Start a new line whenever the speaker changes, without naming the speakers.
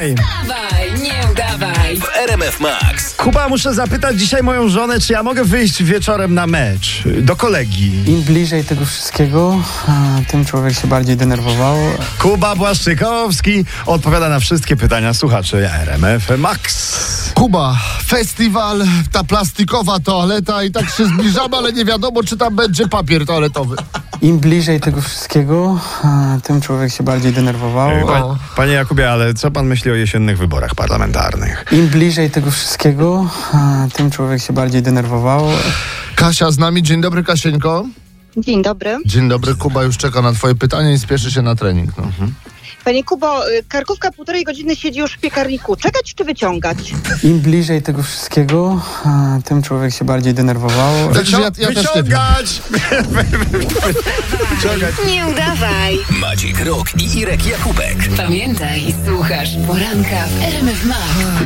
Ej.
Dawaj, nie udawaj.
w RMF Max.
Kuba, muszę zapytać dzisiaj moją żonę, czy ja mogę wyjść wieczorem na mecz y, do kolegi.
Im bliżej tego wszystkiego, a, tym człowiek się bardziej denerwował.
Kuba Błaszczykowski odpowiada na wszystkie pytania słuchaczy RMF Max.
Kuba, festiwal, ta plastikowa toaleta i tak się zbliżamy, ale nie wiadomo, czy tam będzie papier toaletowy.
Im bliżej tego wszystkiego, a, tym człowiek się bardziej denerwował.
Y, Pa, panie Jakubie, ale co pan myśli o jesiennych wyborach parlamentarnych?
Im bliżej tego wszystkiego, a, tym człowiek się bardziej denerwował.
Kasia z nami, dzień dobry Kasieńko.
Dzień dobry.
Dzień dobry, Kuba już czeka na twoje pytanie i spieszy się na trening. No.
Panie Kubo, y, karkówka półtorej godziny siedzi już w piekarniku. Czekać czy wyciągać?
Im bliżej tego wszystkiego, a, tym człowiek się bardziej denerwował.
Także ja, ja też nie wiem.
Wyciągać!
Nie udawaj.
Maciek Rok i Irek Jakubek.
Pamiętaj, słuchasz poranka w RMF Max.